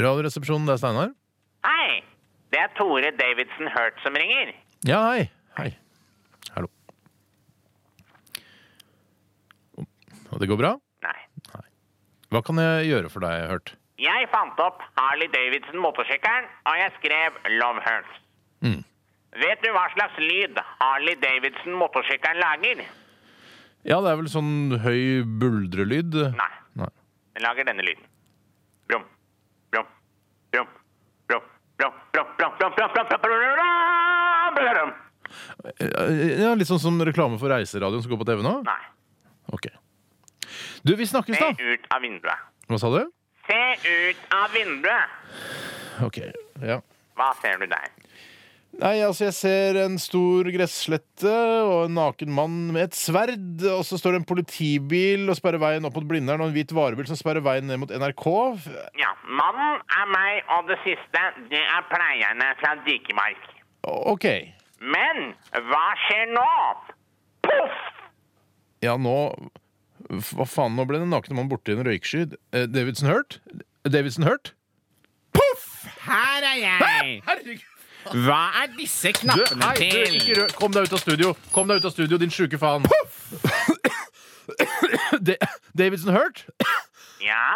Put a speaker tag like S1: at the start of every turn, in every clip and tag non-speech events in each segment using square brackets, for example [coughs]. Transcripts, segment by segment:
S1: Radioresepsjonen, det er Steinar.
S2: Hei! Det er Tore Davidson Hurt som ringer.
S1: Ja, hei. Hei. Hallo. Og det går bra?
S2: Nei.
S1: Hva kan jeg gjøre for deg, Hørt?
S2: Jeg fant opp Harley Davidson motorsykkelen, og jeg skrev Love Hurts.
S1: Mm.
S2: Vet du hva slags lyd Harley Davidson motorsykkelen lager?
S1: Ja, det er vel sånn høy buldrelyd?
S2: Nei.
S1: Nei.
S2: Den lager denne lyden. Brum, brum, brum, brum, brum, brum, brum, brum, brum, brum, brum, brum, brum, brum.
S1: Eh, Ja, litt sånn som reklame for reiseradioen som går på TV nå?
S2: Nei.
S1: Ok. Du, vi snakkes,
S2: Se
S1: da!
S2: ut av vinduet.
S1: Hva sa du?
S2: Se ut av vinduet!
S1: Ok, ja.
S2: Hva ser du der?
S1: Nei, altså jeg ser en stor gresslette og en naken mann med et sverd. Og så står det en politibil og sperrer veien opp mot Blindern, og en hvit varebil som sperrer veien ned mot NRK.
S2: Ja, mannen er meg, og det siste, det er pleierne fra Dikemark.
S1: OK.
S2: Men hva skjer nå? Poff!
S1: Ja, nå Hva faen, nå ble den nakne mannen borti en røyksky. Eh, Davidson Hurt? Davidson Hurt?
S3: Her er jeg!
S1: Herregud!
S3: Hva er disse
S1: Du,
S3: knappene
S1: nei, du, ikke
S3: til?
S1: rø Kom deg ut av studio, Kom deg ut av studio, din sjuke faen! [coughs] Da- Davidson Hurt?
S2: Ja,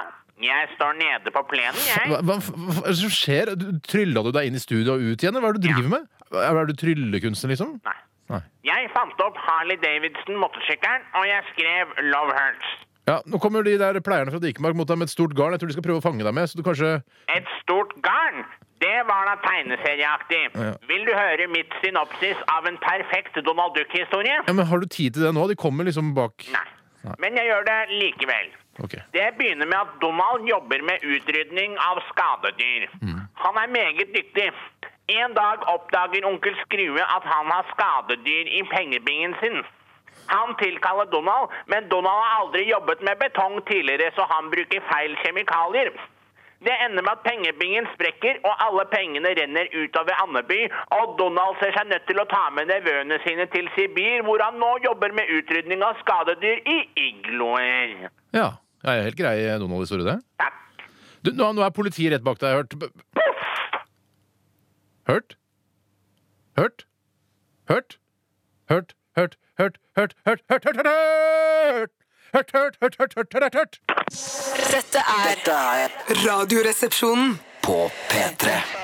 S2: jeg står nede på plenen, jeg.
S1: Hva, hva, hva er det som skjer? Du, trylla du deg inn i studio og ut igjen? eller Hva er det du driver med? Er, er du tryllekunstner, liksom?
S2: Nei.
S1: Nei.
S2: Jeg fant opp Harley Davidson motorsykkelen, og jeg skrev Love Hurts.
S1: Ja, Nå kommer de der pleierne fra Dikemark mot deg med et stort garn. Jeg tror de skal prøve å fange deg med, så du kanskje
S2: Et stort garn. Det var da tegneserieaktig.
S1: Ja.
S2: Vil du høre mitt synopsis av en perfekt Donald Duck-historie?
S1: Ja, men Har du tid til det nå? De kommer liksom bak
S2: Nei. Men jeg gjør det likevel.
S1: Ok.
S2: Det begynner med at Donald jobber med utrydning av skadedyr. Han er meget dyktig. En dag oppdager onkel Skrue at han har skadedyr i pengebingen sin. Han tilkaller Donald, men Donald har aldri jobbet med betong tidligere, så han bruker feil kjemikalier. Det ender med at pengebingen sprekker, og alle pengene renner utover Andeby, og Donald ser seg nødt til å ta med nevøene sine til Sibir, hvor han nå jobber med utrydning av skadedyr i igloer.
S1: Ja. ja jeg er helt grei Donald-historie, det.
S2: Takk.
S1: Du, nå, nå er politiet rett bak deg, hørt. B- b- Hørt? Hørt? Hørt? Hørt? Hørt? Hørt? Hørt? Hørt? Hørt? Hørt? Hørt? Hørt? Hørt? Hørt? Hørt? Hørt? Hørt? Hørt? Hørt?
S4: Dette er
S5: Dette er
S4: Radioresepsjonen.
S5: på P3.